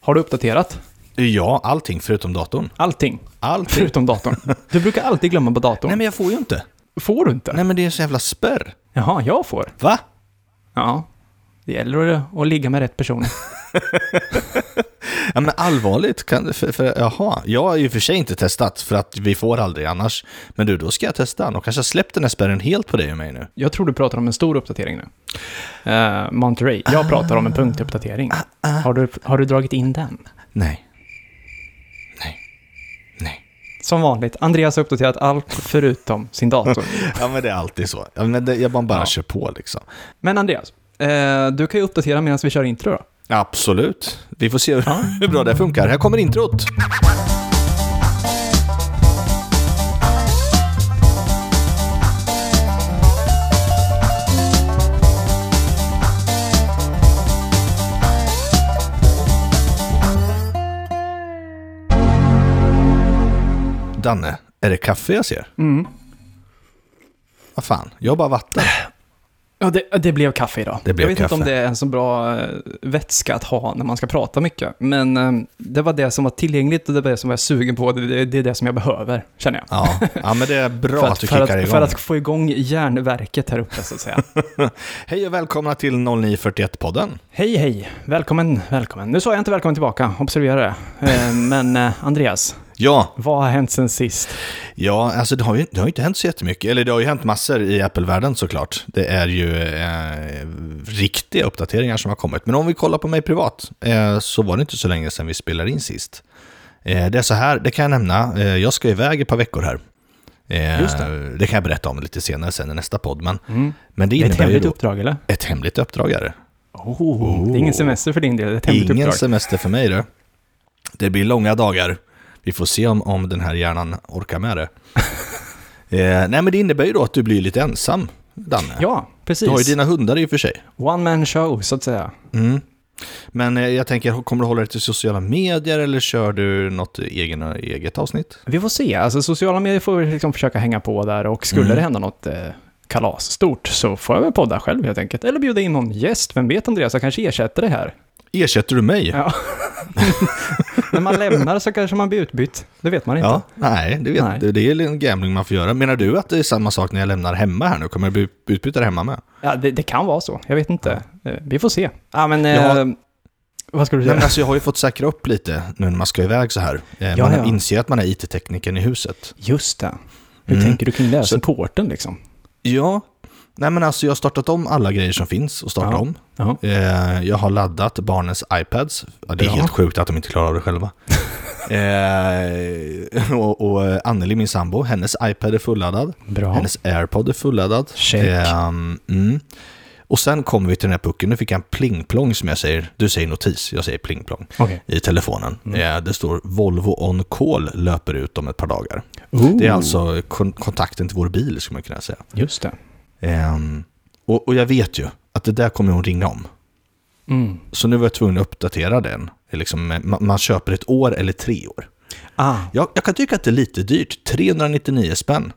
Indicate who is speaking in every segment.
Speaker 1: Har du uppdaterat
Speaker 2: Ja, allting förutom datorn.
Speaker 1: allting?
Speaker 2: Allting.
Speaker 1: Förutom datorn. Du brukar alltid glömma på datorn.
Speaker 2: Nej, men jag får ju inte.
Speaker 1: Får du inte?
Speaker 2: Nej, men det är en så jävla spärr.
Speaker 1: Jaha, jag får.
Speaker 2: Va?
Speaker 1: Ja. Det gäller att, att ligga med rätt person.
Speaker 2: Ja, men allvarligt, kan det, för, för, jaha. Jag har ju för sig inte testat, för att vi får aldrig annars. Men du, då ska jag testa. De kanske har släppt den här spärren helt på dig och mig nu.
Speaker 1: Jag tror du pratar om en stor uppdatering nu. Eh, Monterey. Jag pratar om en punktuppdatering. Har du, har du dragit in den?
Speaker 2: Nej. Nej. Nej.
Speaker 1: Som vanligt, Andreas har uppdaterat allt förutom sin dator.
Speaker 2: Ja, men det är alltid så. Ja, men det, jag bara, bara
Speaker 1: Ja.
Speaker 2: kör på liksom.
Speaker 1: Men Andreas, eh, du kan ju uppdatera medan vi kör intro då.
Speaker 2: Absolut. Vi får se hur, hur bra det funkar. Här kommer introt. Danne, är det kaffe jag ser?
Speaker 1: Mm.
Speaker 2: Vad fan, jag har bara vatten.
Speaker 1: Ja, det, det blev kaffe idag.
Speaker 2: Det blev
Speaker 1: jag vet
Speaker 2: kaffe.
Speaker 1: inte om det är en så bra eh, vätska att ha när man ska prata mycket. Men eh, det var det som var tillgängligt och det var det som jag var sugen på. Det, det, det är det som jag behöver, känner jag.
Speaker 2: Ja, ja men det är bra
Speaker 1: för,
Speaker 2: att du
Speaker 1: för,
Speaker 2: kickar
Speaker 1: att,
Speaker 2: igång.
Speaker 1: för att få igång järnverket här uppe, så att säga.
Speaker 2: Hej och välkomna till 0941-podden.
Speaker 1: hej, hej. Välkommen, välkommen. Nu sa jag inte välkommen tillbaka, observera det. Eh, Men eh, Andreas,
Speaker 2: Ja,
Speaker 1: vad har hänt sen sist?
Speaker 2: ja alltså det har ju det har ju inte hänt så jättemycket. Eller det har ju hänt massor i Apple-världen såklart. Det är ju eh, riktiga uppdateringar som har kommit. Men om vi kollar på mig privat eh, så var det inte så länge sedan vi spelade in sist. Eh, det är så här, det kan jag nämna. Eh, jag ska iväg ett par veckor här. Eh,
Speaker 1: Just
Speaker 2: det. kan jag berätta om lite senare sen i nästa podd. Men,
Speaker 1: Mm.
Speaker 2: men det
Speaker 1: Det är ett
Speaker 2: innebär ju
Speaker 1: hemligt
Speaker 2: då
Speaker 1: uppdrag, eller?
Speaker 2: ett hemligt uppdrag. Är det.
Speaker 1: Oh. Det är ingen semester för din del, det är ett hemligt
Speaker 2: Ingen
Speaker 1: uppdrag.
Speaker 2: semester för mig du. Det blir långa dagar. Vi får se om, om den här hjärnan orkar med det. eh, nej men det innebär ju då att du blir lite ensam, Danne.
Speaker 1: Ja,
Speaker 2: du har ju
Speaker 1: precis.
Speaker 2: dina hundar i och för sig.
Speaker 1: One man show, så att säga.
Speaker 2: Mm. Men eh, jag tänker, kommer du hålla dig till sociala medier eller kör du något egen, eget avsnitt?
Speaker 1: Vi får se. Alltså, sociala medier får vi liksom försöka hänga på där och skulle
Speaker 2: Mm.
Speaker 1: det hända något eh, kalas stort så får jag väl podda själv helt enkelt. Eller bjuda in någon gäst. Vem vet Andreas, jag kanske ersätter det här.
Speaker 2: Ersätter du mig?
Speaker 1: Ja. När man lämnar så kanske man blir utbytt. Det vet man inte.
Speaker 2: Ja, nej, det, vet,
Speaker 1: Nej.
Speaker 2: Du, det är en gambling man får göra. Menar du att det är samma sak när jag lämnar hemma här nu? Kommer jag bli utbytad hemma med?
Speaker 1: Ja, det, det kan vara så. Jag vet inte. Eh, vi får se. Ja, men... Eh,
Speaker 2: Jag har-
Speaker 1: Vad ska du
Speaker 2: Nej,
Speaker 1: säga?
Speaker 2: men alltså, jag har ju fått säkra upp lite nu när man ska iväg så här. Eh, Man
Speaker 1: Ja, ja.
Speaker 2: inser att man är it-teknikern i huset.
Speaker 1: Just det. Hur
Speaker 2: Mm.
Speaker 1: tänker du kring det? här?
Speaker 2: Så-
Speaker 1: Supporten liksom?
Speaker 2: Ja. Nej men alltså jag har startat om alla grejer som finns och startat
Speaker 1: Ja.
Speaker 2: om.
Speaker 1: Ja.
Speaker 2: Eh, jag har laddat barnens iPads. Ja, det är
Speaker 1: Bra.
Speaker 2: helt sjukt att de inte klarar av det själva. eh, och, och eh, Anneli, min sambo, hennes iPad är fulladdad.
Speaker 1: Bra.
Speaker 2: Hennes AirPod är fulladdad.
Speaker 1: Check.
Speaker 2: Ehm, mm. Och sen kommer vi till den här pucken. Nu fick jag en plingplong som jag säger. Du säger notis, jag säger plingplong.
Speaker 1: Okej.
Speaker 2: i telefonen.
Speaker 1: Mm.
Speaker 2: Eh, Det står Volvo On Call löper ut om ett par dagar.
Speaker 1: Ooh,
Speaker 2: Det är alltså kon- kontakten till vår bil, skulle man kunna säga.
Speaker 1: Just det.
Speaker 2: Ehm, och, och jag vet ju att det där kommer hon ringa om.
Speaker 1: Mm.
Speaker 2: Så nu var jag tvungen att uppdatera den. Det är Liksom, eh, man, man köper ett år eller tre år.
Speaker 1: Ah,
Speaker 2: Jag, jag kan tycka att det är lite dyrt. 399 spänn.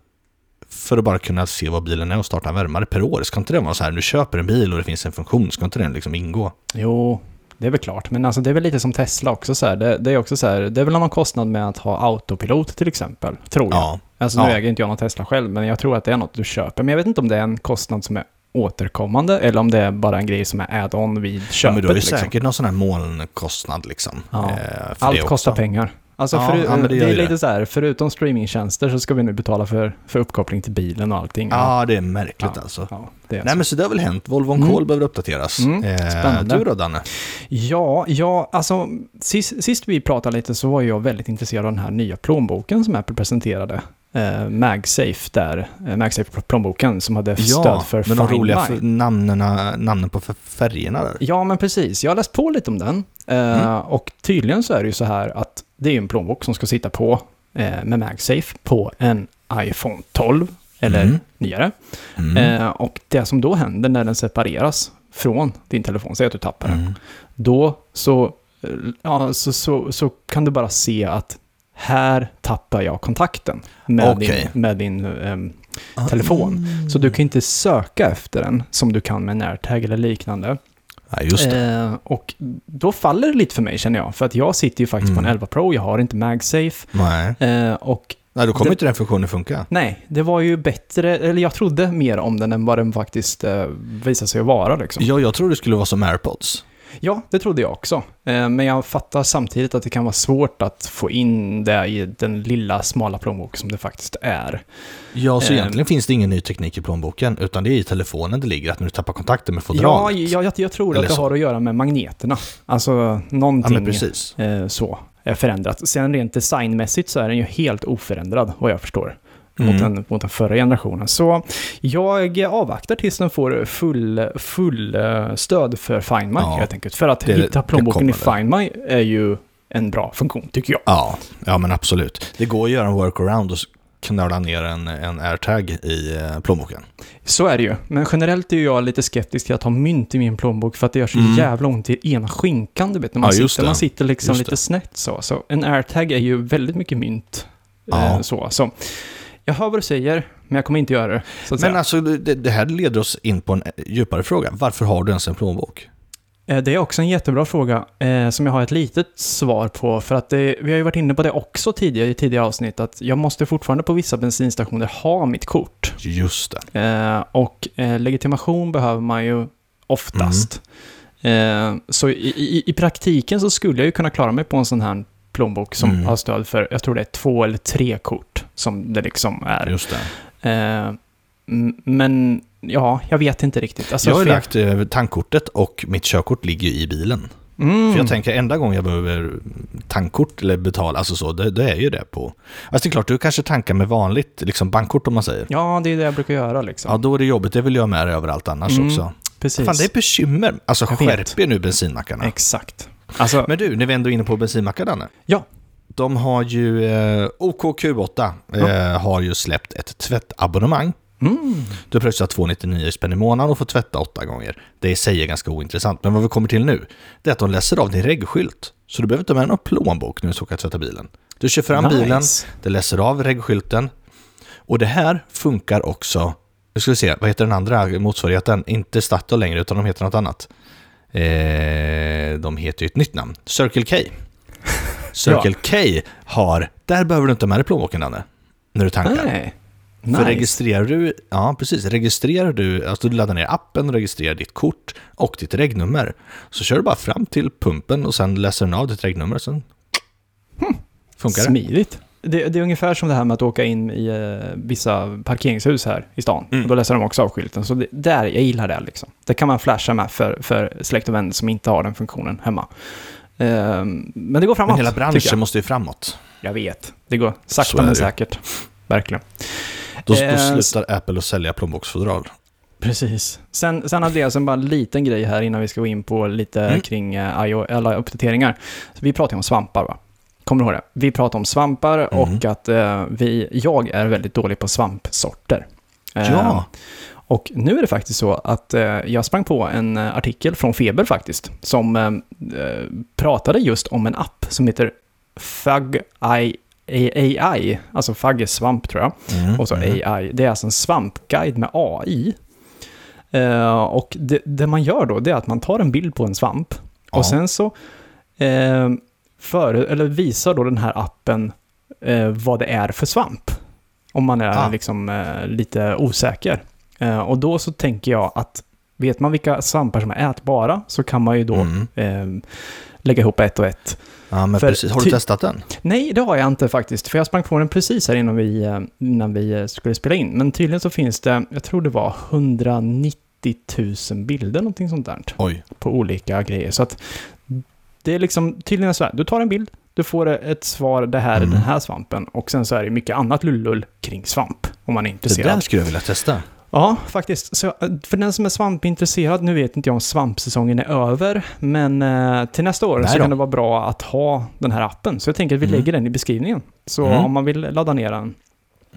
Speaker 2: För att bara kunna se vad bilen är och starta en värmare per år. Ska inte det vara så här, du köper en bil och det finns en funktion, ska inte den liksom ingå?
Speaker 1: Jo, det är väl klart. Men alltså, det är väl lite som Tesla också. Så här. Det, det är också så här, det är väl någon kostnad med att ha autopilot till exempel, tror jag.
Speaker 2: Ja.
Speaker 1: Alltså nu
Speaker 2: Ja.
Speaker 1: äger inte jag någon Tesla själv, men jag tror att det är något du köper. Men jag vet inte om det är en kostnad som är återkommande eller om det är bara en grej som är add-on vid
Speaker 2: ja,
Speaker 1: köpet.
Speaker 2: men då är det
Speaker 1: liksom.
Speaker 2: säkert någon sån här molnkostnad liksom.
Speaker 1: Ja.
Speaker 2: eh, för det
Speaker 1: Allt
Speaker 2: också.
Speaker 1: kostar pengar. Alltså
Speaker 2: Ja,
Speaker 1: föru-
Speaker 2: ja, men det
Speaker 1: det,
Speaker 2: gör
Speaker 1: är
Speaker 2: ju
Speaker 1: lite
Speaker 2: det.
Speaker 1: så här, förutom streamingtjänster så ska vi nu betala för, för uppkoppling till bilen och allting.
Speaker 2: Ja, det är märkligt
Speaker 1: Ja.
Speaker 2: alltså.
Speaker 1: Ja, det är
Speaker 2: Nej,
Speaker 1: så.
Speaker 2: men så det har väl hänt. Volvo On
Speaker 1: Mm.
Speaker 2: Call behöver uppdateras.
Speaker 1: Mm, spännande.
Speaker 2: Eh, du då, Danne?
Speaker 1: Ja, ja alltså sist, sist vi pratade lite så var jag väldigt intresserad av den här nya plånboken som Apple presenterade. Eh, MagSafe där, eh, MagSafe-plånboken som hade stöd för
Speaker 2: men de
Speaker 1: Find
Speaker 2: roliga
Speaker 1: My.
Speaker 2: f- namnena, namnen på f- färgerna där.
Speaker 1: Ja, men precis. Jag har läst på lite om den. Eh,
Speaker 2: Mm.
Speaker 1: Och tydligen så är det ju så här att det är ju en plånbok som ska sitta på eh, med MagSafe på en iPhone 12 eller
Speaker 2: Mm.
Speaker 1: nyare.
Speaker 2: Mm.
Speaker 1: Eh, och det som då händer när den separeras från din telefon, säg att du tappar den,
Speaker 2: Mm.
Speaker 1: då så, eh, ja, så, så, så kan du bara se att här tappar jag kontakten med
Speaker 2: Okej.
Speaker 1: din, med din ehm,
Speaker 2: Mm.
Speaker 1: telefon. Så du kan inte söka efter den som du kan med en AirTag eller liknande.
Speaker 2: Ja, just det.
Speaker 1: Eh, och då faller det lite för mig känner jag. För att jag sitter ju faktiskt på en
Speaker 2: Mm.
Speaker 1: 11 Pro, jag har inte MagSafe.
Speaker 2: Nej.
Speaker 1: Eh, och
Speaker 2: Nej, då kommer
Speaker 1: Det-
Speaker 2: inte den funktionen funka.
Speaker 1: nej, det var ju bättre, eller jag trodde mer om den än vad den faktiskt eh, visade sig att vara. Liksom.
Speaker 2: Ja, jag tror det skulle vara som airpods.
Speaker 1: Ja, det trodde jag också. Eh, Men jag fattar samtidigt att det kan vara svårt att få in det i den lilla smala plånbok som det faktiskt är.
Speaker 2: Ja, så
Speaker 1: Eh.
Speaker 2: egentligen finns det ingen ny teknik i plånboken, utan det är i telefonen det ligger, att när du tappar kontakten med
Speaker 1: Ja,
Speaker 2: fodralet.
Speaker 1: jag, jag, jag tror
Speaker 2: Eller
Speaker 1: att det
Speaker 2: så.
Speaker 1: har att göra med magneterna. Alltså
Speaker 2: ja
Speaker 1: någonting
Speaker 2: men precis.
Speaker 1: eh, så är förändrat. Sen rent designmässigt så är den ju helt oförändrad, vad jag förstår, mot,
Speaker 2: Mm.
Speaker 1: den, mot den förra generationen. Så jag avvaktar tills den får full, full eh, stöd för Find My,
Speaker 2: Ja,
Speaker 1: helt enkelt. För att
Speaker 2: det-
Speaker 1: hitta
Speaker 2: det
Speaker 1: plånboken i
Speaker 2: kommer
Speaker 1: Find My är ju en bra funktion, tycker jag.
Speaker 2: Ja, ja, men absolut. Det går att göra en workaround och s- knöla ner en, en airtag i eh, plånboken.
Speaker 1: Så är det ju. Men generellt är ju jag lite skeptisk till att ha mynt i min plånbok för att det gör så
Speaker 2: Mm.
Speaker 1: jävla ont i ena skinkan. Du vet, när man,
Speaker 2: Ja, just
Speaker 1: sitter,
Speaker 2: det.
Speaker 1: man sitter liksom
Speaker 2: Just
Speaker 1: lite
Speaker 2: det.
Speaker 1: snett så. så. En airtag är ju väldigt mycket mynt.
Speaker 2: Ja.
Speaker 1: Eh, så, så. Jag hör vad du säger, men jag kommer inte göra det. Så att
Speaker 2: Men
Speaker 1: säga.
Speaker 2: alltså, det, det här leder oss in på en eh, djupare fråga. Varför har du ens en plånbok?
Speaker 1: Eh, Det är också en jättebra fråga eh, som jag har ett litet svar på. För att det, vi har ju varit inne på det också tidigare i tidigare avsnitt, att jag måste fortfarande på vissa bensinstationer ha mitt kort.
Speaker 2: Just det.
Speaker 1: Eh, och eh, legitimation behöver man ju oftast. Eh, så i, i, i praktiken så skulle jag ju kunna klara mig på en sån här plånbok som
Speaker 2: Mm.
Speaker 1: har stöd för, jag tror det är två eller tre kort som det liksom är.
Speaker 2: Just det.
Speaker 1: Eh, m- men ja, jag vet inte riktigt. Alltså,
Speaker 2: jag har ju
Speaker 1: för
Speaker 2: lagt eh, tankkortet och mitt körkort ligger ju i bilen.
Speaker 1: Mm.
Speaker 2: För jag tänker, enda gången jag behöver tankkort eller betala, alltså så, det, det är ju det på... Alltså det är klart, du kanske tankar med vanligt liksom bankkort om man säger.
Speaker 1: Ja, det är det jag brukar göra liksom.
Speaker 2: Ja, då är det jobbigt. Det vill jag ha med dig överallt annars
Speaker 1: Mm,
Speaker 2: också.
Speaker 1: Precis.
Speaker 2: Fan, det är bekymmer. Alltså
Speaker 1: Jag vet.
Speaker 2: skärp er nu bensinmackarna.
Speaker 1: Exakt. Alltså,
Speaker 2: Men du, när vi ändå är inne på bensinmackar, Danne.
Speaker 1: Ja.
Speaker 2: De har ju, eh, OKQ8 eh, har ju släppt ett tvättabonnemang.
Speaker 1: mm.
Speaker 2: Du pröjsar 299 spänn i månaden och får tvätta åtta gånger. Det i sig är ganska ointressant, men vad vi kommer till nu, det är att de läser av din reggskylt. Så du behöver inte ha med någon plånbok när du ska åka och tvätta bilen. Du kör fram
Speaker 1: Nice.
Speaker 2: bilen, det läser av reggskylten. Och det här funkar också, nu ska vi se, vad heter den andra motsvarigheten? Inte Statoil längre, utan de heter något annat. Eh, de heter ju ett nytt namn, Circle K. Circle K har, där behöver du inte ha med dig plånboken Danne, när du tankar.
Speaker 1: Nej.
Speaker 2: För
Speaker 1: Nice.
Speaker 2: registrerar du, ja precis, registrerar du, alltså du laddar ner appen, registrerar ditt kort och ditt regnummer. Så kör du bara fram till pumpen och sen läser den av ditt regnummer och sen hmm, funkar det.
Speaker 1: Smidigt. Det, det är ungefär som det här med att åka in i eh, vissa parkeringshus här i stan.
Speaker 2: Mm.
Speaker 1: Och då läser de också av skylten. Så det, där, jag gillar det liksom. Det kan man flasha med för, för släkt och vänner som inte har den funktionen hemma. Ehm, men det går framåt.
Speaker 2: Men hela
Speaker 1: tycker
Speaker 2: branschen
Speaker 1: jag.
Speaker 2: måste ju framåt.
Speaker 1: jag vet. Det går
Speaker 2: Så
Speaker 1: sakta
Speaker 2: är
Speaker 1: men
Speaker 2: det.
Speaker 1: säkert. Verkligen.
Speaker 2: Då,
Speaker 1: Eh,
Speaker 2: då slutar Apple att sälja plånboksfodral.
Speaker 1: Precis. Sen, sen hade jag sen bara en liten grej här innan vi ska gå in på lite
Speaker 2: Mm.
Speaker 1: kring eh, IO, alla uppdateringar. Så vi pratade om svampar va? Kommer du ihåg det? Vi pratade om svampar
Speaker 2: Mm.
Speaker 1: och att eh, vi, jag är väldigt dålig på svampsorter. Eh,
Speaker 2: Ja,
Speaker 1: och nu är det faktiskt så att eh, jag sprang på en eh, artikel från Feber faktiskt, som eh, eh, pratade just om en app som heter Fug I- A- AI, alltså Fug är svamp tror jag.
Speaker 2: Mm,
Speaker 1: Och så
Speaker 2: mm.
Speaker 1: AI. Det är alltså en svampguide med AI. Eh, och det, det man gör då, det är att man tar en bild på en svamp.
Speaker 2: Ja.
Speaker 1: Och sen så eh, före, eller visar då den här appen eh, vad det är för svamp. Om man är
Speaker 2: Ah.
Speaker 1: liksom eh, lite osäker. Eh, och då så tänker jag att vet man vilka svampar som är ätbara så kan man ju då
Speaker 2: Mm.
Speaker 1: eh, lägga ihop ett och ett.
Speaker 2: Ja, men
Speaker 1: För
Speaker 2: precis. Har du
Speaker 1: ty-
Speaker 2: testat den?
Speaker 1: Nej, det har jag inte faktiskt, för jag sprang på den precis här innan vi, eh, innan vi eh, skulle spela in. Men tydligen så finns det, jag tror det var 190 000 bilder, någonting sånt där,
Speaker 2: Oj.
Speaker 1: på olika grejer. Så att det är liksom tydligen så här, du tar en bild, du får eh, ett svar, det här är
Speaker 2: Mm.
Speaker 1: den här svampen, och sen så är det mycket annat lullull kring svamp, om man är
Speaker 2: Det
Speaker 1: intresserad.
Speaker 2: där skulle jag vilja testa.
Speaker 1: Ja, faktiskt. Så, eh, för den som är svampintresserad, nu vet inte jag om svampsäsongen är över, men eh, till nästa år
Speaker 2: Nej
Speaker 1: så
Speaker 2: då.
Speaker 1: kan det vara bra att ha den här appen. Så jag tänker att vi
Speaker 2: Mm.
Speaker 1: lägger den i beskrivningen. Så
Speaker 2: Mm.
Speaker 1: om man vill ladda ner den.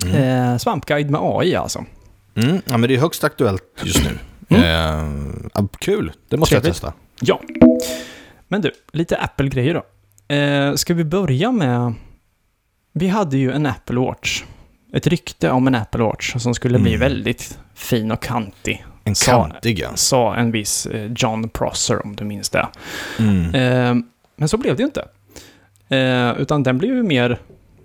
Speaker 2: Mm.
Speaker 1: Eh, svampguide med AI alltså.
Speaker 2: Mm. Ja, men det är högst aktuellt just nu.
Speaker 1: Mm.
Speaker 2: Eh, ja, kul, det måste jag
Speaker 1: Trevligt.
Speaker 2: testa.
Speaker 1: Ja. Men du, lite Apple-grejer då. Eh, ska vi börja med... Vi hade ju en Apple Watch. Ett rykte om en Apple Watch som skulle bli
Speaker 2: Mm.
Speaker 1: väldigt fin och kantig.
Speaker 2: En
Speaker 1: Sa-
Speaker 2: kantig alltså. ja.
Speaker 1: sa en viss eh, John Prosser, om du minns det.
Speaker 2: Mm.
Speaker 1: Eh, men så blev det ju inte. Eh, utan den blev ju mer,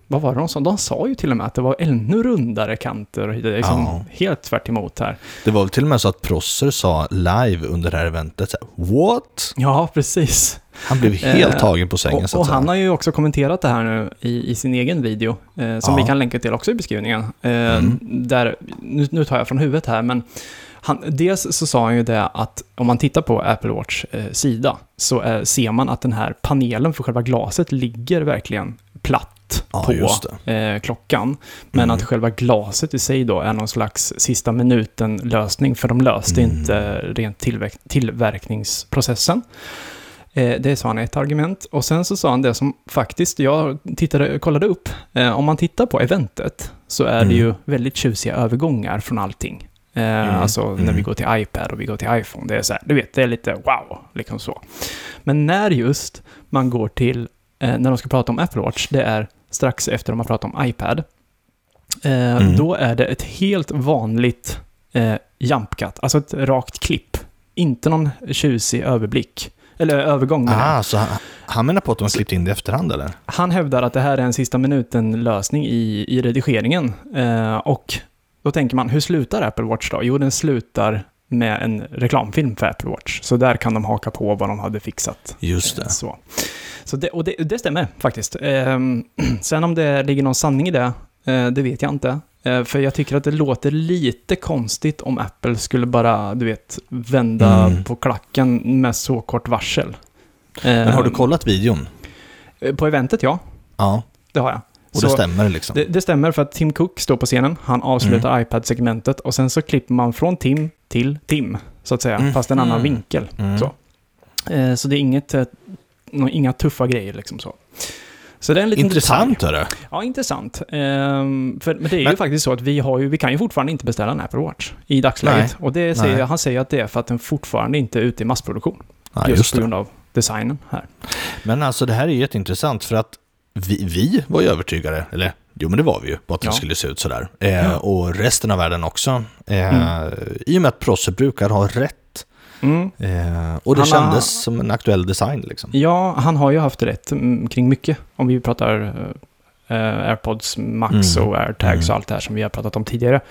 Speaker 1: vad var det de sa? De sa ju till och med att det var ännu rundare kanter och det är liksom
Speaker 2: Ja.
Speaker 1: helt tvärt emot här.
Speaker 2: Det var väl till och med så att Prosser sa live under det här eventet så här, What?
Speaker 1: Ja, precis.
Speaker 2: Han blev helt
Speaker 1: Eh,
Speaker 2: tagen på sängen
Speaker 1: Och,
Speaker 2: så
Speaker 1: och
Speaker 2: att
Speaker 1: han
Speaker 2: säga.
Speaker 1: har ju också kommenterat det här nu i, i sin egen video, eh, som
Speaker 2: Ja.
Speaker 1: vi kan länka till också i beskrivningen. Eh,
Speaker 2: Mm.
Speaker 1: där, nu, nu tar jag från huvudet här, men han, dels så sa han ju det att om man tittar på Apple Watch eh, sida så eh, ser man att den här panelen för själva glaset ligger verkligen platt
Speaker 2: Ja,
Speaker 1: på
Speaker 2: just
Speaker 1: eh, klockan. Men
Speaker 2: Mm.
Speaker 1: att själva glaset i sig då är någon slags sista minuten-lösning, för de löste
Speaker 2: Mm.
Speaker 1: inte rent tillverk- tillverkningsprocessen. Eh, det sa han är ett argument. Och sen så sa han det som faktiskt jag tittade, kollade upp. Eh, om man tittar på eventet så är det
Speaker 2: Mm.
Speaker 1: ju väldigt tjusiga övergångar från allting. Eh, Alltså när vi
Speaker 2: Mm.
Speaker 1: går till iPad och vi går till iPhone. Det är så här, du vet, det är lite wow, liksom så. Men när just man går till, eh, när de ska prata om Apple Watch, det är strax efter de har pratat om iPad. Eh,
Speaker 2: Mm.
Speaker 1: Då är det ett helt vanligt eh, jump cut, alltså ett rakt klipp. Inte någon tjusig överblick, eller övergång med det.
Speaker 2: Ah, så han, han menar på att de har klippt in det i efterhand eller?
Speaker 1: Han hävdar att det här är en sista minuten-lösning i, i redigeringen. Eh, och då tänker man, hur slutar Apple Watch då? Jo, den slutar med en reklamfilm för Apple Watch. Så där kan de haka på vad de hade fixat.
Speaker 2: Just det.
Speaker 1: Så. Så det, och det, det stämmer faktiskt. Ehm, sen om det ligger någon sanning i det, eh, det vet jag inte. Eh, för jag tycker att det låter lite konstigt om Apple skulle bara, du vet, vända
Speaker 2: Mm.
Speaker 1: på klacken med så kort varsel. Ehm,
Speaker 2: Men har du kollat videon?
Speaker 1: På eventet, ja.
Speaker 2: Ja,
Speaker 1: Det har jag.
Speaker 2: och
Speaker 1: Så-
Speaker 2: det stämmer liksom.
Speaker 1: det, det stämmer för att Tim Cook står på scenen, han avslutar
Speaker 2: Mm.
Speaker 1: iPad-segmentet och sen så klipper man från Tim till Tim, så att säga,
Speaker 2: Mm.
Speaker 1: fast en annan
Speaker 2: Mm.
Speaker 1: vinkel.
Speaker 2: Mm.
Speaker 1: så. Eh, så det är inget, eh, nå- inga tuffa grejer liksom så. Så det är en liten
Speaker 2: Intressant hörru.
Speaker 1: detalj. Ja, intressant. Ehm, för, men det är ju
Speaker 2: Men-
Speaker 1: faktiskt så att vi, har ju, vi kan ju fortfarande inte beställa en Apple Watch i dagsläget. Och det säger,
Speaker 2: Nej.
Speaker 1: han säger att det är för att den fortfarande inte är ute i massproduktion.
Speaker 2: Ja,
Speaker 1: just,
Speaker 2: just
Speaker 1: på
Speaker 2: det.
Speaker 1: grund av designen här.
Speaker 2: Men alltså det här är ju jätteintressant för att vi, vi var ju övertygade, eller jo men det var vi ju, på att den
Speaker 1: Ja.
Speaker 2: skulle se ut sådär. Eh, Och resten av världen också. Eh, I och med att Prosser brukar ha rätt.
Speaker 1: Mm.
Speaker 2: Eh, och det
Speaker 1: Han har-
Speaker 2: kändes som en aktuell design liksom.
Speaker 1: Ja, han har ju haft rätt mm, kring mycket. Om vi pratar eh, eh, AirPods Max
Speaker 2: Mm.
Speaker 1: och AirTags och
Speaker 2: Mm.
Speaker 1: allt det här som vi har pratat om tidigare.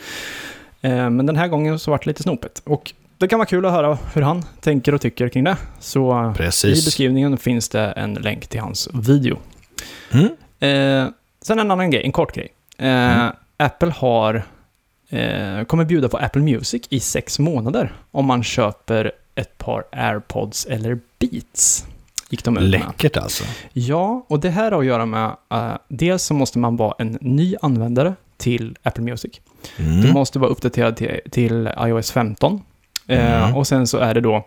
Speaker 1: Eh, men den här gången så vart det lite snopet. Och det kan vara kul att höra hur han tänker och tycker kring det. Så eh, i
Speaker 2: Precis.
Speaker 1: beskrivningen finns det en länk till hans video.
Speaker 2: Mm.
Speaker 1: Eh, sen en annan grej, en kort grej. Eh,
Speaker 2: Mm.
Speaker 1: Apple har, eh, kommer bjuda på Apple Music i sex månader om man köper ett par AirPods eller Beats. Gick de ut med.
Speaker 2: Läckert alltså.
Speaker 1: Ja, och det här har att göra med, eh, dels så måste man vara en ny användare till Apple Music. Du
Speaker 2: Mm.
Speaker 1: måste vara uppdaterad till, till iOS 15. Eh,
Speaker 2: Mm.
Speaker 1: Och sen så är det då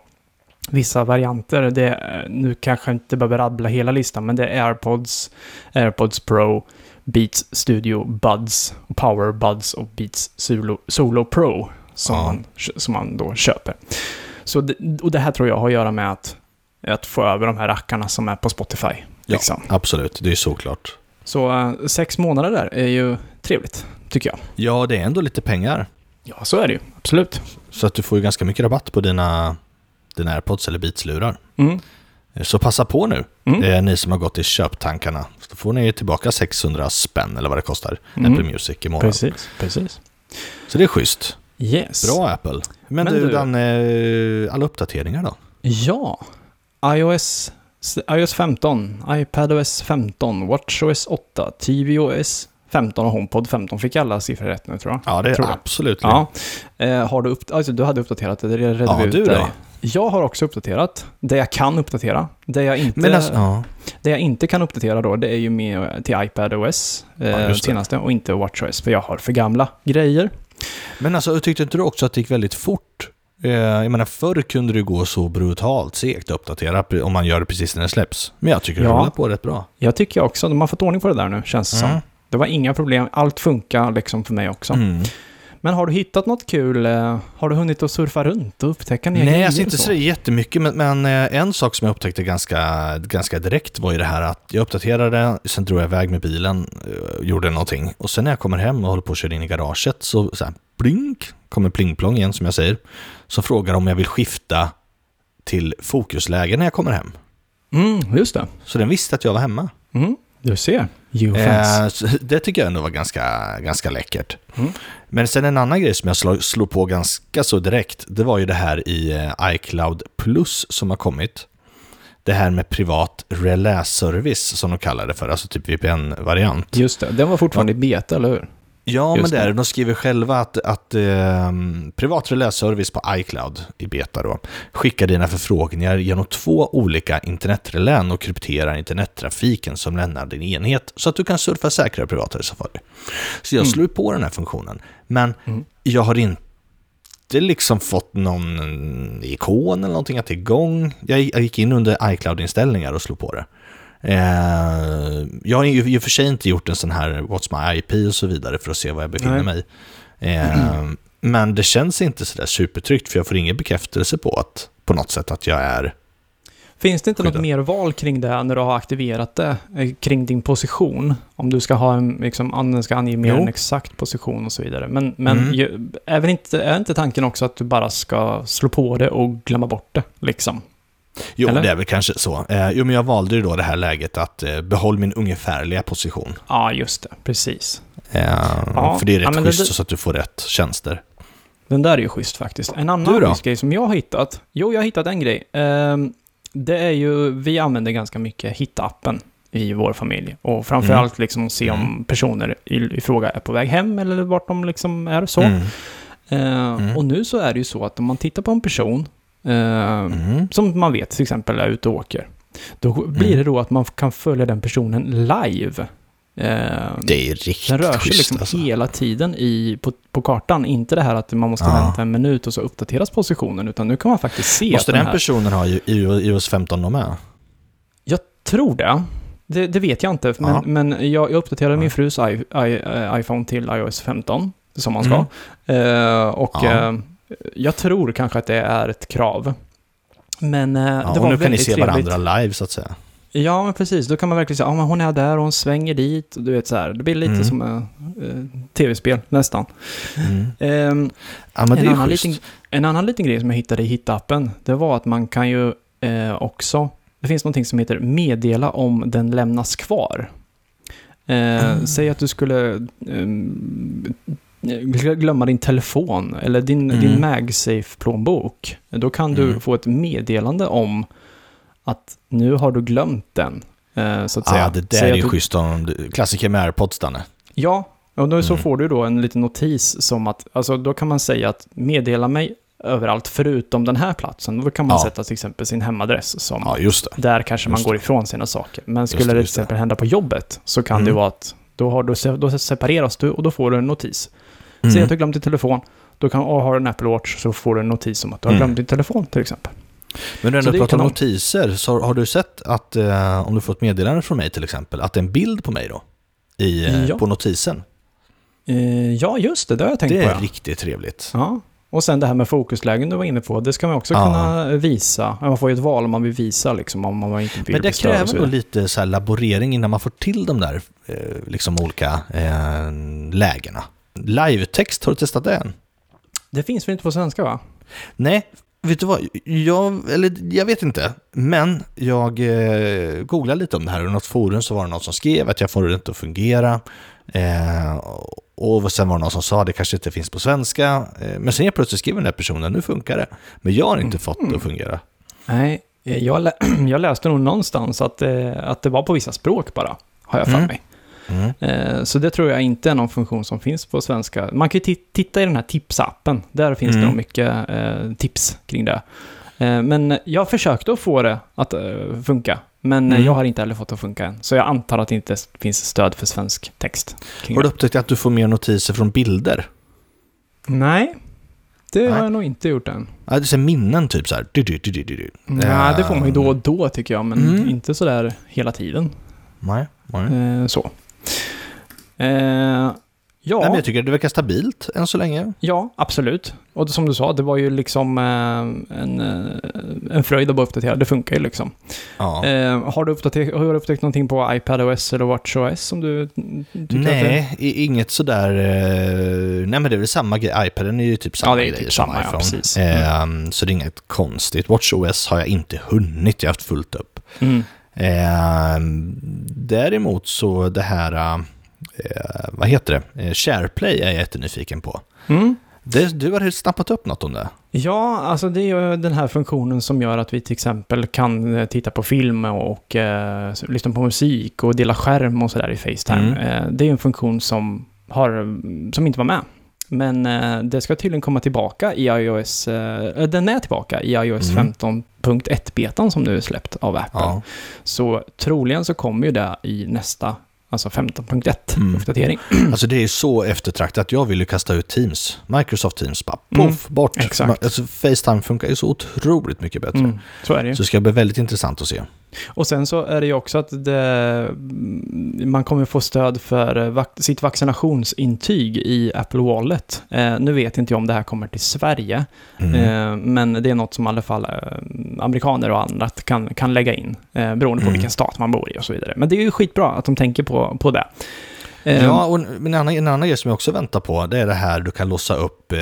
Speaker 1: vissa varianter. Det, är- nu kanske jag inte behöver rabbla hela listan, men det är AirPods, AirPods Pro, Beats Studio Buds, Power Buds och Beats Solo, Solo Pro som,
Speaker 2: Ja.
Speaker 1: man, som man då köper. Så det, och det här tror jag har att göra med att, att få över de här rackarna som är på Spotify.
Speaker 2: Ja.
Speaker 1: Liksom.
Speaker 2: Absolut, det är ju såklart.
Speaker 1: Så eh, sex månader där är ju trevligt, tycker jag.
Speaker 2: Ja, det är ändå lite pengar.
Speaker 1: Ja, så är det ju. Absolut.
Speaker 2: Så att du får ju ganska mycket rabatt på dina, dina AirPods eller Beats-lurar.
Speaker 1: Mm.
Speaker 2: Så passa på nu,
Speaker 1: Mm.
Speaker 2: eh, ni som har gått i köptankarna. Så då får ni tillbaka 600 spänn eller vad det kostar,
Speaker 1: Mm.
Speaker 2: Apple Music i månaden.
Speaker 1: Precis, precis.
Speaker 2: Så det är schysst.
Speaker 1: Yes.
Speaker 2: Bra Apple.
Speaker 1: Men
Speaker 2: Men, du,
Speaker 1: du-
Speaker 2: Dan, eh, alla uppdateringar då?
Speaker 1: Ja. iOS, iOS 15, iPadOS 15, WatchOS 8, TVOS 15 och HomePod 15. Fick alla siffror rätt nu tror jag.
Speaker 2: Ja, det
Speaker 1: Tror
Speaker 2: är
Speaker 1: jag.
Speaker 2: absolut.
Speaker 1: Ja. Eh, har du, upp, alltså, du hade uppdaterat det, det redde
Speaker 2: Ja,
Speaker 1: vi ut
Speaker 2: du
Speaker 1: där.
Speaker 2: då?
Speaker 1: Jag har också uppdaterat. Det jag kan uppdatera. Det jag inte,
Speaker 2: Men alltså, ja.
Speaker 1: det jag inte kan uppdatera då, det är ju med eh, till iPadOS eh,
Speaker 2: Ja, just det.
Speaker 1: senaste och inte WatchOS, för jag har för gamla grejer.
Speaker 2: Men alltså, tyckte inte du också att det gick väldigt fort? Eh, Jag menar, förr kunde det gå så brutalt segt att uppdatera pre- om man gör det precis när det släpps. Men jag tycker det
Speaker 1: Ja.
Speaker 2: rullar på rätt bra.
Speaker 1: Jag tycker jag också, de har fått ordning på det där nu, känns det som.
Speaker 2: Mm.
Speaker 1: Det var inga problem, allt funkar liksom för mig också.
Speaker 2: Mm.
Speaker 1: Men har du hittat något kul? eh, Har du hunnit att surfa runt och upptäcka nya
Speaker 2: Nej,
Speaker 1: grejer
Speaker 2: alltså inte
Speaker 1: och
Speaker 2: så jättemycket, men, men eh, en sak som jag upptäckte ganska, ganska direkt var ju det här att jag uppdaterade, sen drog jag iväg med bilen, eh, gjorde någonting och sen när jag kommer hem och håller på att köra in i garaget så, så här, blink, kommer plingplong igen som jag säger, som frågar om jag vill skifta till fokusläge när jag kommer hem.
Speaker 1: Mm, just det.
Speaker 2: Så den visste att jag var hemma.
Speaker 1: Mm. Du ser. You fancy.
Speaker 2: Eh, så det tycker jag ändå var ganska, ganska läckert.
Speaker 1: Mm.
Speaker 2: Men sen en annan grej som jag slog, slog på ganska så direkt, det var ju det här i eh, iCloud Plus som har kommit. Det här med privat relässervice som de kallar det för, alltså typ VPN-variant.
Speaker 1: Just det. Den var fortfarande i beta, eller hur?
Speaker 2: Ja, men
Speaker 1: Just
Speaker 2: det är
Speaker 1: det.
Speaker 2: det. De skriver själva att, att eh, privat relässervice på iCloud i beta då, skickar dina förfrågningar genom två olika internetrelän och krypterar internettrafiken som lämnar din enhet så att du kan surfa säkrare privatare Safari. Så jag
Speaker 1: Mm.
Speaker 2: slår ju på den här funktionen, men
Speaker 1: Mm.
Speaker 2: jag har inte liksom fått någon ikon eller någonting att det är igång. Jag, jag gick in under iCloud-inställningar och slog på det. Eh, jag har ju i och för sig inte gjort en sån här What's my IP och så vidare för att se var jag befinner
Speaker 1: Nej.
Speaker 2: mig. Eh, Men det känns inte sådär supertryggt för jag får ingen bekräftelse på att på något sätt att jag är...
Speaker 1: Finns det inte något
Speaker 2: Skydda.
Speaker 1: mer val kring det här när du har aktiverat det? eh, Kring din position? Om du ska ha en, liksom, an- den ska ange mer
Speaker 2: Jo.
Speaker 1: en exakt position och så vidare. Men, men
Speaker 2: Mm.
Speaker 1: ju, är, väl inte, är inte tanken också att du bara ska slå på det och glömma bort det, liksom?
Speaker 2: Jo,
Speaker 1: Eller?
Speaker 2: det är väl kanske så. Eh, jo, men jag valde ju då det här läget att eh, behåll min ungefärliga position.
Speaker 1: Ja, just det. Precis.
Speaker 2: Eh,
Speaker 1: Ja,
Speaker 2: För det är
Speaker 1: ja,
Speaker 2: rätt
Speaker 1: men det-
Speaker 2: schysst så att du får rätt tjänster.
Speaker 1: Den där är ju schysst faktiskt. En
Speaker 2: Du
Speaker 1: annan
Speaker 2: då?
Speaker 1: schysst grej som jag har hittat. Jo, jag har hittat en grej. Ehm, det är ju, vi använder ganska mycket hitta-appen i vår familj. Och
Speaker 2: Mm.
Speaker 1: framförallt liksom se om
Speaker 2: Mm.
Speaker 1: personer i, i fråga är på väg hem eller vart de liksom är och så.
Speaker 2: Mm.
Speaker 1: Eh,
Speaker 2: Mm.
Speaker 1: Och nu så är det ju så att om man tittar på en person eh,
Speaker 2: Mm.
Speaker 1: som man vet till exempel är ute och åker, då blir det då att man kan följa den personen live. Eh,
Speaker 2: Det är ju riktigt
Speaker 1: den rör sig
Speaker 2: schysst
Speaker 1: liksom
Speaker 2: alltså.
Speaker 1: hela tiden i, på, på kartan. Inte det här att man måste
Speaker 2: Ja.
Speaker 1: vänta en minut och så uppdateras positionen, utan nu kan man faktiskt se
Speaker 2: Måste
Speaker 1: att den
Speaker 2: den
Speaker 1: här...
Speaker 2: personen ha ju- ju- iOS 15 de med?
Speaker 1: Jag tror det. Det, det vet jag inte, men,
Speaker 2: Ja.
Speaker 1: men jag, jag uppdaterade
Speaker 2: Ja.
Speaker 1: min frus I, I, eh, iPhone till iOS 15, som man ska.
Speaker 2: Mm.
Speaker 1: Eh, och
Speaker 2: Ja.
Speaker 1: eh, jag tror kanske att det är ett krav. Men eh,
Speaker 2: Ja,
Speaker 1: det
Speaker 2: och
Speaker 1: var
Speaker 2: nu
Speaker 1: väldigt
Speaker 2: kan ni se
Speaker 1: trevligt.
Speaker 2: varandra live så att säga.
Speaker 1: Ja, men precis. Då kan man verkligen säga, ja men hon är där och hon svänger dit. Och du vet så här, det blir lite
Speaker 2: Mm.
Speaker 1: som eh, eh, tv-spel nästan.
Speaker 2: Mm.
Speaker 1: Ehm,
Speaker 2: Ja, men det
Speaker 1: en,
Speaker 2: är
Speaker 1: annan
Speaker 2: ju
Speaker 1: liten,
Speaker 2: schysst.
Speaker 1: en annan liten grej som jag hittade i Hittappen, det var att man kan ju eh, också, det finns någonting som heter meddela om den lämnas kvar. Eh,
Speaker 2: Ah.
Speaker 1: Säg att du skulle eh, gl- glömma din telefon eller din,
Speaker 2: Mm.
Speaker 1: din MagSafe-plånbok. Då kan du
Speaker 2: Mm.
Speaker 1: få ett meddelande om att nu har du glömt den. Eh, så Mm. att säga.
Speaker 2: Ah, det där
Speaker 1: Säg
Speaker 2: är
Speaker 1: att
Speaker 2: ju
Speaker 1: du-
Speaker 2: schysst om du, klassiker med AirPods Danne.
Speaker 1: Ja, och då så
Speaker 2: Mm.
Speaker 1: får du då en liten notis som att, alltså då kan man säga att meddela mig överallt förutom den här platsen. Då kan man
Speaker 2: Ja.
Speaker 1: sätta till exempel sin hemadress som,
Speaker 2: Ja, just det.
Speaker 1: där kanske man
Speaker 2: just
Speaker 1: går ifrån sina saker. Men skulle
Speaker 2: det,
Speaker 1: det, till
Speaker 2: just det.
Speaker 1: exempel hända på jobbet så kan det
Speaker 2: Mm.
Speaker 1: vara att då, har du, se- då separeras du och då får du en notis.
Speaker 2: Mm.
Speaker 1: Säg att du glömt din telefon, då kan, och har du en Apple Watch så får du en notis om att du har
Speaker 2: Mm.
Speaker 1: glömt din telefon till exempel.
Speaker 2: Men du
Speaker 1: så
Speaker 2: ändå
Speaker 1: det är
Speaker 2: pratar om
Speaker 1: kanon.
Speaker 2: notiser, så har- har du sett att eh, om du får ett meddelande från mig till exempel, att det är en bild på mig då? I, eh,
Speaker 1: Ja.
Speaker 2: På notisen.
Speaker 1: Eh, ja, just det, det har jag tänkt
Speaker 2: Det
Speaker 1: på.
Speaker 2: är
Speaker 1: Ja.
Speaker 2: riktigt trevligt.
Speaker 1: Ja. Och sen det här med fokuslägen du var inne på, det ska man också
Speaker 2: Ja.
Speaker 1: kunna visa. Man får ju ett val om man vill visa liksom, om man inte vill
Speaker 2: Men
Speaker 1: bli
Speaker 2: det
Speaker 1: störd och
Speaker 2: kräver
Speaker 1: så
Speaker 2: nog
Speaker 1: vidare.
Speaker 2: lite så här laborering innan man får till de där eh, liksom olika eh, lägena. Live-text, har du testat det än?
Speaker 1: Det finns väl inte på svenska va?
Speaker 2: Nej, vet du vad? Jag, eller, jag vet inte, men jag eh, googlade lite om det här och i något forum så var det någon som skrev att jag får det inte att fungera. Eh, och sen var det någon som sa att det kanske inte finns på svenska. Eh, men sen helt plötsligt skrev den här personen, nu funkar det. Men jag har inte fått det att fungera.
Speaker 1: Nej, eh, jag, lä jag läste nog någonstans att, eh, att det var på vissa språk bara, har jag för
Speaker 2: Mm.
Speaker 1: mig.
Speaker 2: Mm.
Speaker 1: Eh, så det tror jag inte är någon funktion som finns på svenska. Man kan ju ti- titta i den här tipsappen, där finns det
Speaker 2: Mm.
Speaker 1: nog mycket eh, tips kring det. Eh, men jag försökte att få det att eh, funka, men eh,
Speaker 2: Mm.
Speaker 1: jag har inte heller fått det att funka än. Så jag antar att det inte s- finns stöd för svensk text. kring
Speaker 2: Har du
Speaker 1: det.
Speaker 2: upptäckt att du får mer notiser från bilder?
Speaker 1: Nej, det har
Speaker 2: Nej.
Speaker 1: jag nog inte gjort än.
Speaker 2: Ja, det är så här minnen typ så här. Du, du, du, du, du, du.
Speaker 1: Nej, det får man ju då och då tycker jag, men
Speaker 2: Mm.
Speaker 1: inte sådär hela tiden.
Speaker 2: Nej, nej.
Speaker 1: Eh, så. Eh, Ja,
Speaker 2: Nej, men jag tycker det verkar stabilt än så länge.
Speaker 1: ja, absolut. Och som du sa, det var ju liksom eh, en, eh, en fröjd att bara uppdatera. Det funkar ju liksom.
Speaker 2: Ja.
Speaker 1: Eh, har, du uppdater- har du upptäckt någonting på iPadOS eller WatchOS som du mm, tycker att det
Speaker 2: Nej, i- inget sådär... Eh, nej, men det är väl samma grej. iPaden är ju typ samma
Speaker 1: Ja, det är
Speaker 2: grejer
Speaker 1: typ
Speaker 2: som
Speaker 1: samma, ja,
Speaker 2: iPhone.
Speaker 1: precis.
Speaker 2: Ehm, så det är inget konstigt. WatchOS har jag inte hunnit, jag har haft fullt upp.
Speaker 1: Mm.
Speaker 2: Ehm, däremot så det här... eh, vad heter det? Eh, SharePlay är jag jättenyfiken på.
Speaker 1: Mm.
Speaker 2: Det, du har helt snappat upp något om det.
Speaker 1: Ja, alltså det är ju den här funktionen som gör att vi till exempel kan eh, titta på film och eh, s- lyssna på musik och dela skärm och sådär i Facetime.
Speaker 2: Mm.
Speaker 1: Eh, det är ju en funktion som, har, mm, som inte var med. Men eh, det ska tydligen komma tillbaka i iOS, eh, den är tillbaka i iOS
Speaker 2: Mm.
Speaker 1: 15.1-betan som nu är släppt av Apple.
Speaker 2: Ja.
Speaker 1: Så troligen så kommer ju det i nästa, alltså 15.1
Speaker 2: Mm.
Speaker 1: uppdatering.
Speaker 2: Alltså det är så eftertraktat. Jag vill ju kasta ut Teams, Microsoft Teams, bara
Speaker 1: Mm,
Speaker 2: poff, bort.
Speaker 1: exakt.
Speaker 2: Alltså Facetime funkar ju så otroligt mycket bättre.
Speaker 1: Mm, så är det ju.
Speaker 2: Så det ska bli väldigt intressant att se.
Speaker 1: Och sen så är det ju också att det, man kommer få stöd för eh, vac- sitt vaccinationsintyg i Apple Wallet. Eh, nu vet inte jag om det här kommer till Sverige,
Speaker 2: Mm.
Speaker 1: eh, men det är något som i alla fall eh, amerikaner och andra kan, kan lägga in, eh, beroende på
Speaker 2: Mm.
Speaker 1: vilken stat man bor i och så vidare. Men det är ju skitbra att de tänker på, på det. Eh,
Speaker 2: Ja, och en en annan, en annan grej som jag också väntar på, det är det här du kan låsa upp eh,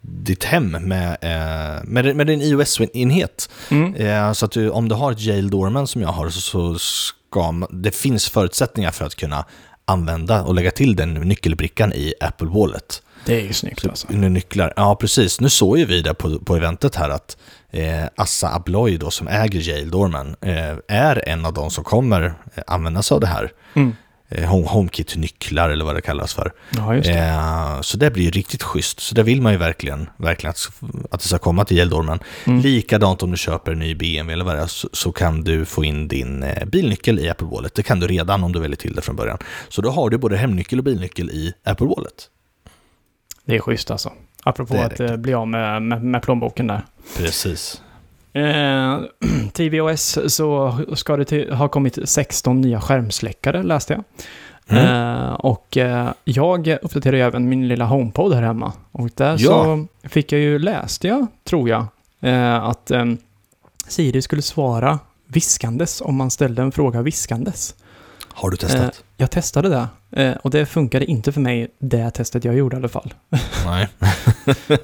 Speaker 2: ditt hem med, eh, med, med din iOS-enhet.
Speaker 1: mm,
Speaker 2: Eh, så att du, om du har ett Jail Dorman som jag har så, så ska man, det finns förutsättningar för att kunna använda och lägga till den nyckelbrickan i Apple Wallet.
Speaker 1: det är ju snyggt alltså.
Speaker 2: Nu nycklar. Ja, precis. Nu såg ju vi det på, på eventet här att eh, Assa Abloy då, som äger Jail Dorman, eh, är en av de som kommer eh, använda sig av det här.
Speaker 1: Mm.
Speaker 2: Eh, Home- HomeKit-nycklar eller vad det kallas för.
Speaker 1: Ja, just det.
Speaker 2: Eh, så det blir ju riktigt schysst. Så det vill man ju verkligen, verkligen att, att det ska komma till Jail Dorman.
Speaker 1: Mm.
Speaker 2: Likadant om du köper en ny BMW eller vad det är, så, så kan du få in din eh, bilnyckel i Apple Wallet. Det kan du redan om du väljer till det från början. Så då har du både hemnyckel och bilnyckel i Apple Wallet.
Speaker 1: Det är schysst alltså. Apropå
Speaker 2: Det är
Speaker 1: att
Speaker 2: det.
Speaker 1: eh, bli av med, med, med plånboken där.
Speaker 2: Precis.
Speaker 1: Eh, TVOS så ska det till, ha kommit 16 nya skärmsläckare läste jag.
Speaker 2: Mm.
Speaker 1: Eh, och eh, jag uppdaterar ju även min lilla HomePod här hemma. Och där
Speaker 2: Ja.
Speaker 1: så fick jag ju, läste jag, tror jag, eh, att eh, Siri skulle svara viskandes om man ställde en fråga viskandes.
Speaker 2: Har du testat?
Speaker 1: Jag testade det eh, och det funkade inte för mig, det testet jag gjorde i alla fall.
Speaker 2: Nej.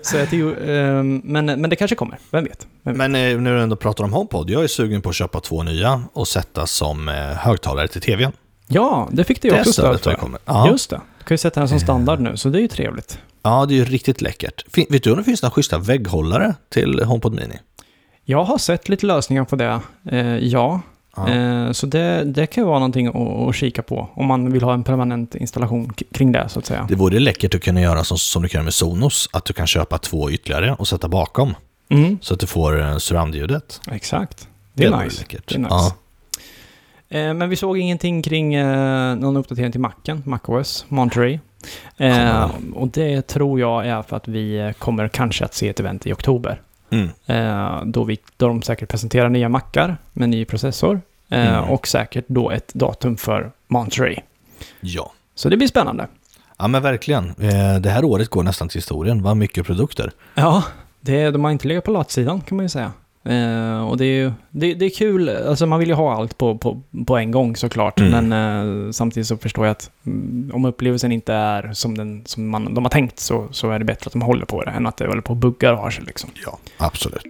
Speaker 1: Så jag tycker, eh, men, men det kanske kommer, vem vet? Vem vet?
Speaker 2: Men eh, när du ändå pratar om HomePod, jag är sugen på att köpa två nya och sätta som eh, högtalare till tvn.
Speaker 1: Ja, det fick du ju
Speaker 2: Det
Speaker 1: också stöd
Speaker 2: stödet har
Speaker 1: för.
Speaker 2: ju kommit. Ja.
Speaker 1: Just det. Du kan ju sätta den som standard nu, så det är ju trevligt.
Speaker 2: ja, det är ju riktigt läckert. Fin- vet du om det finns några schyssta vägghållare till HomePod Mini?
Speaker 1: Jag har sett lite lösningar på det, eh, ja.
Speaker 2: Ja.
Speaker 1: Eh, så det, det kan ju vara någonting att, att kika på, om man vill ha en permanent installation k- kring det, så att säga.
Speaker 2: Det vore läckert att kunna göra som, som du kan göra med Sonos, att du kan köpa två ytterligare och sätta bakom
Speaker 1: Mm,
Speaker 2: så att du får eh, surroundljudet.
Speaker 1: exakt. Det är
Speaker 2: vore
Speaker 1: nice.
Speaker 2: läckert.
Speaker 1: Det är nice.
Speaker 2: Ja.
Speaker 1: Eh, men vi såg ingenting kring eh, någon uppdatering till Macen, MacOS, Monterey. Eh, och det tror jag är för att vi eh, kommer kanske att se ett event i oktober.
Speaker 2: Mm.
Speaker 1: Eh, då, vi, då de säkert presenterar nya mackar med ny processor. Eh,
Speaker 2: Mm.
Speaker 1: Och säkert då ett datum för Monterey.
Speaker 2: ja.
Speaker 1: Så det blir spännande.
Speaker 2: Ja, men verkligen. Eh, det här året går nästan till historien. Vad mycket produkter.
Speaker 1: Ja, det, de har inte legat på latsidan kan man ju säga. Eh, och det är ju det, det är kul, alltså man vill ju ha allt på, på, på en gång såklart.
Speaker 2: Mm.
Speaker 1: Men eh, samtidigt så förstår jag att mm, om upplevelsen inte är som, den, som man, de har tänkt så, så är det bättre att de håller på det än att det håller på och buggar och har sig liksom.
Speaker 2: Ja, absolut.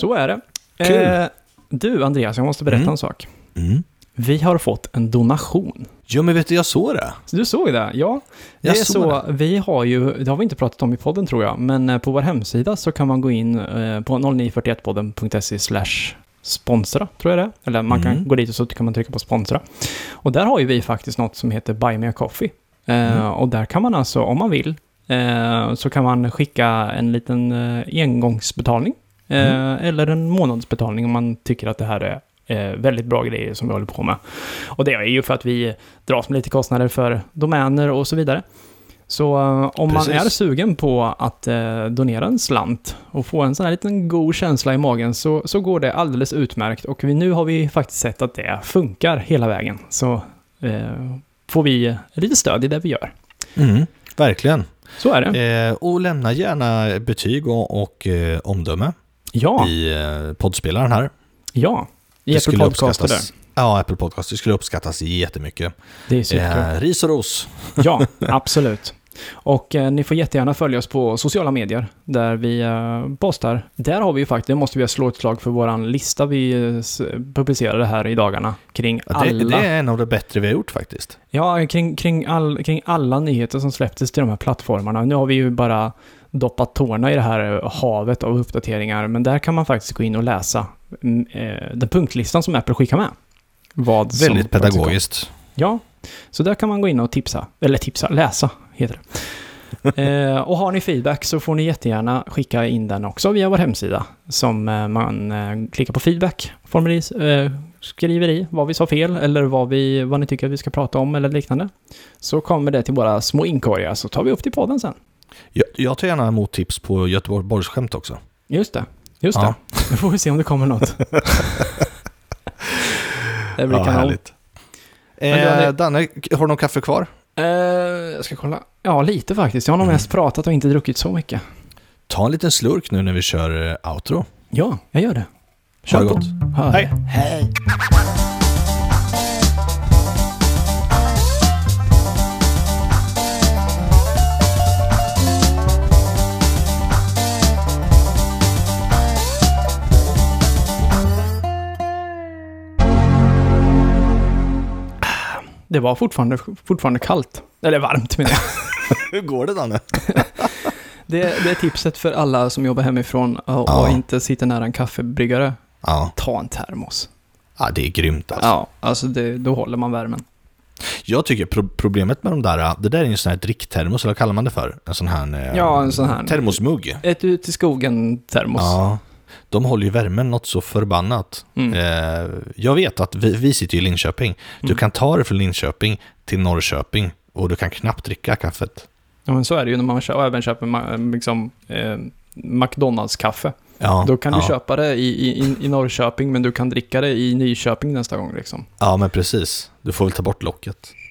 Speaker 1: Så är det.
Speaker 2: Kul.
Speaker 1: Eh, du Andreas, jag måste berätta
Speaker 2: Mm.
Speaker 1: en sak.
Speaker 2: Mm.
Speaker 1: Vi har fått en donation.
Speaker 2: Jo, men vet du, jag såg det.
Speaker 1: Så du såg det? Ja. Det
Speaker 2: Jag
Speaker 1: är
Speaker 2: såg
Speaker 1: så, vi har ju, det har vi inte pratat om i podden tror jag, men eh, på vår hemsida så kan man gå in eh, på 0941podden.se slash sponsra, tror jag det är. Eller man kan
Speaker 2: Mm.
Speaker 1: gå dit och så kan man trycka på sponsra. Och där har ju vi faktiskt något som heter Buy Me A Coffee. Eh,
Speaker 2: Mm.
Speaker 1: Och där kan man alltså, om man vill, eh, så kan man skicka en liten eh, engångsbetalning. eh,
Speaker 2: Mm.
Speaker 1: Eller en månadsbetalning om man tycker att det här är eh, väldigt bra grejer som vi håller på med. Och det är ju för att vi dras med lite kostnader för domäner och så vidare. Så eh, om man
Speaker 2: Precis.
Speaker 1: är sugen på att eh, donera en slant och få en sån här liten god känsla i magen så, så går det alldeles utmärkt. Och vi, nu har vi faktiskt sett att det funkar hela vägen. Så eh, får vi lite stöd i det vi gör.
Speaker 2: Mm, verkligen.
Speaker 1: Så är det.
Speaker 2: Eh, och lämna gärna betyg och, och eh, omdöme
Speaker 1: Ja,
Speaker 2: i eh, poddspelaren här.
Speaker 1: ja. I
Speaker 2: Det
Speaker 1: Apple
Speaker 2: skulle
Speaker 1: Podcast och där.
Speaker 2: uppskattas- Ja, Apple Podcast. Det skulle uppskattas jättemycket.
Speaker 1: Det är superkul.
Speaker 2: Eh, ris och ros.
Speaker 1: Ja, absolut. Och eh, ni får jättegärna följa oss på sociala medier där vi eh, postar. Där har vi ju faktiskt, det måste vi slå ett slag för våran lista vi eh, s- publicerade här i dagarna kring
Speaker 2: Ja, Det,
Speaker 1: alla,
Speaker 2: det är en av de bättre vi har gjort faktiskt.
Speaker 1: ja, kring, kring, all, kring alla nyheter som släpptes till de här plattformarna. Nu har vi ju bara doppat tårna i det här eh, havet av uppdateringar, men där kan man faktiskt gå in och läsa mm, eh, den punktlistan som Apple skickar med. Vad som
Speaker 2: Väldigt
Speaker 1: faktiskt kom.
Speaker 2: pedagogiskt.
Speaker 1: Ja, så där kan man gå in och tipsa. Eller tipsa, läsa heter det. eh, och har ni feedback så får ni jättegärna skicka in den också via vår hemsida. Som eh, man eh, klickar på feedback, formulir, eh, skriver i vad vi sa fel eller vad, vi, vad ni tycker att vi ska prata om eller liknande. Så kommer det till våra små inkorgar så tar vi upp till podden sen.
Speaker 2: Jag, jag tar gärna emot tips på Göteborgsskämt också.
Speaker 1: Just det, just
Speaker 2: Ja.
Speaker 1: det. Nu får vi se om det kommer något. det blir kanon. Men du hade-
Speaker 2: Eh, Danne, har du någon kaffe kvar?
Speaker 1: Eh, jag ska kolla. Ja, lite faktiskt. Jag har nog
Speaker 2: Mm.
Speaker 1: mest pratat och inte druckit så mycket.
Speaker 2: Ta en liten slurk nu när vi kör eh, outro.
Speaker 1: Ja, jag gör det.
Speaker 2: Ha det
Speaker 1: på.
Speaker 2: gott.
Speaker 1: Ha det.
Speaker 2: Hej.
Speaker 1: Hej. Det var fortfarande, fortfarande kallt. Eller varmt menar jag.
Speaker 2: Hur går det Danne?
Speaker 1: Det, det är tipset för alla som jobbar hemifrån och, och
Speaker 2: Ja.
Speaker 1: inte sitter nära en kaffebryggare.
Speaker 2: Ja,
Speaker 1: Ta en termos.
Speaker 2: ja det är grymt alltså.
Speaker 1: Ja, alltså det, då håller man värmen.
Speaker 2: Jag tycker pro- problemet med de där, eh, det där är ju en sån här dricktermos, eller vad kallar man det för? En sån här... eh,
Speaker 1: Ja, en sån här-
Speaker 2: Termosmugg.
Speaker 1: Ett ut i skogen-termos.
Speaker 2: Ja. De håller ju värmen något så förbannat.
Speaker 1: Mm.
Speaker 2: Eh, jag vet att vi, vi sitter ju i Linköping. Du
Speaker 1: Mm.
Speaker 2: kan ta det från Linköping till Norrköping och du kan knappt dricka kaffet.
Speaker 1: ja, men så är det ju när man kö- även köper ma- liksom, eh, McDonalds-kaffe.
Speaker 2: Ja,
Speaker 1: Då kan
Speaker 2: ja,
Speaker 1: du köpa det i, i, i- i Norrköping, men du kan dricka det i Nyköping nästa gång. Liksom.
Speaker 2: Ja, men precis. Du får väl ta bort locket.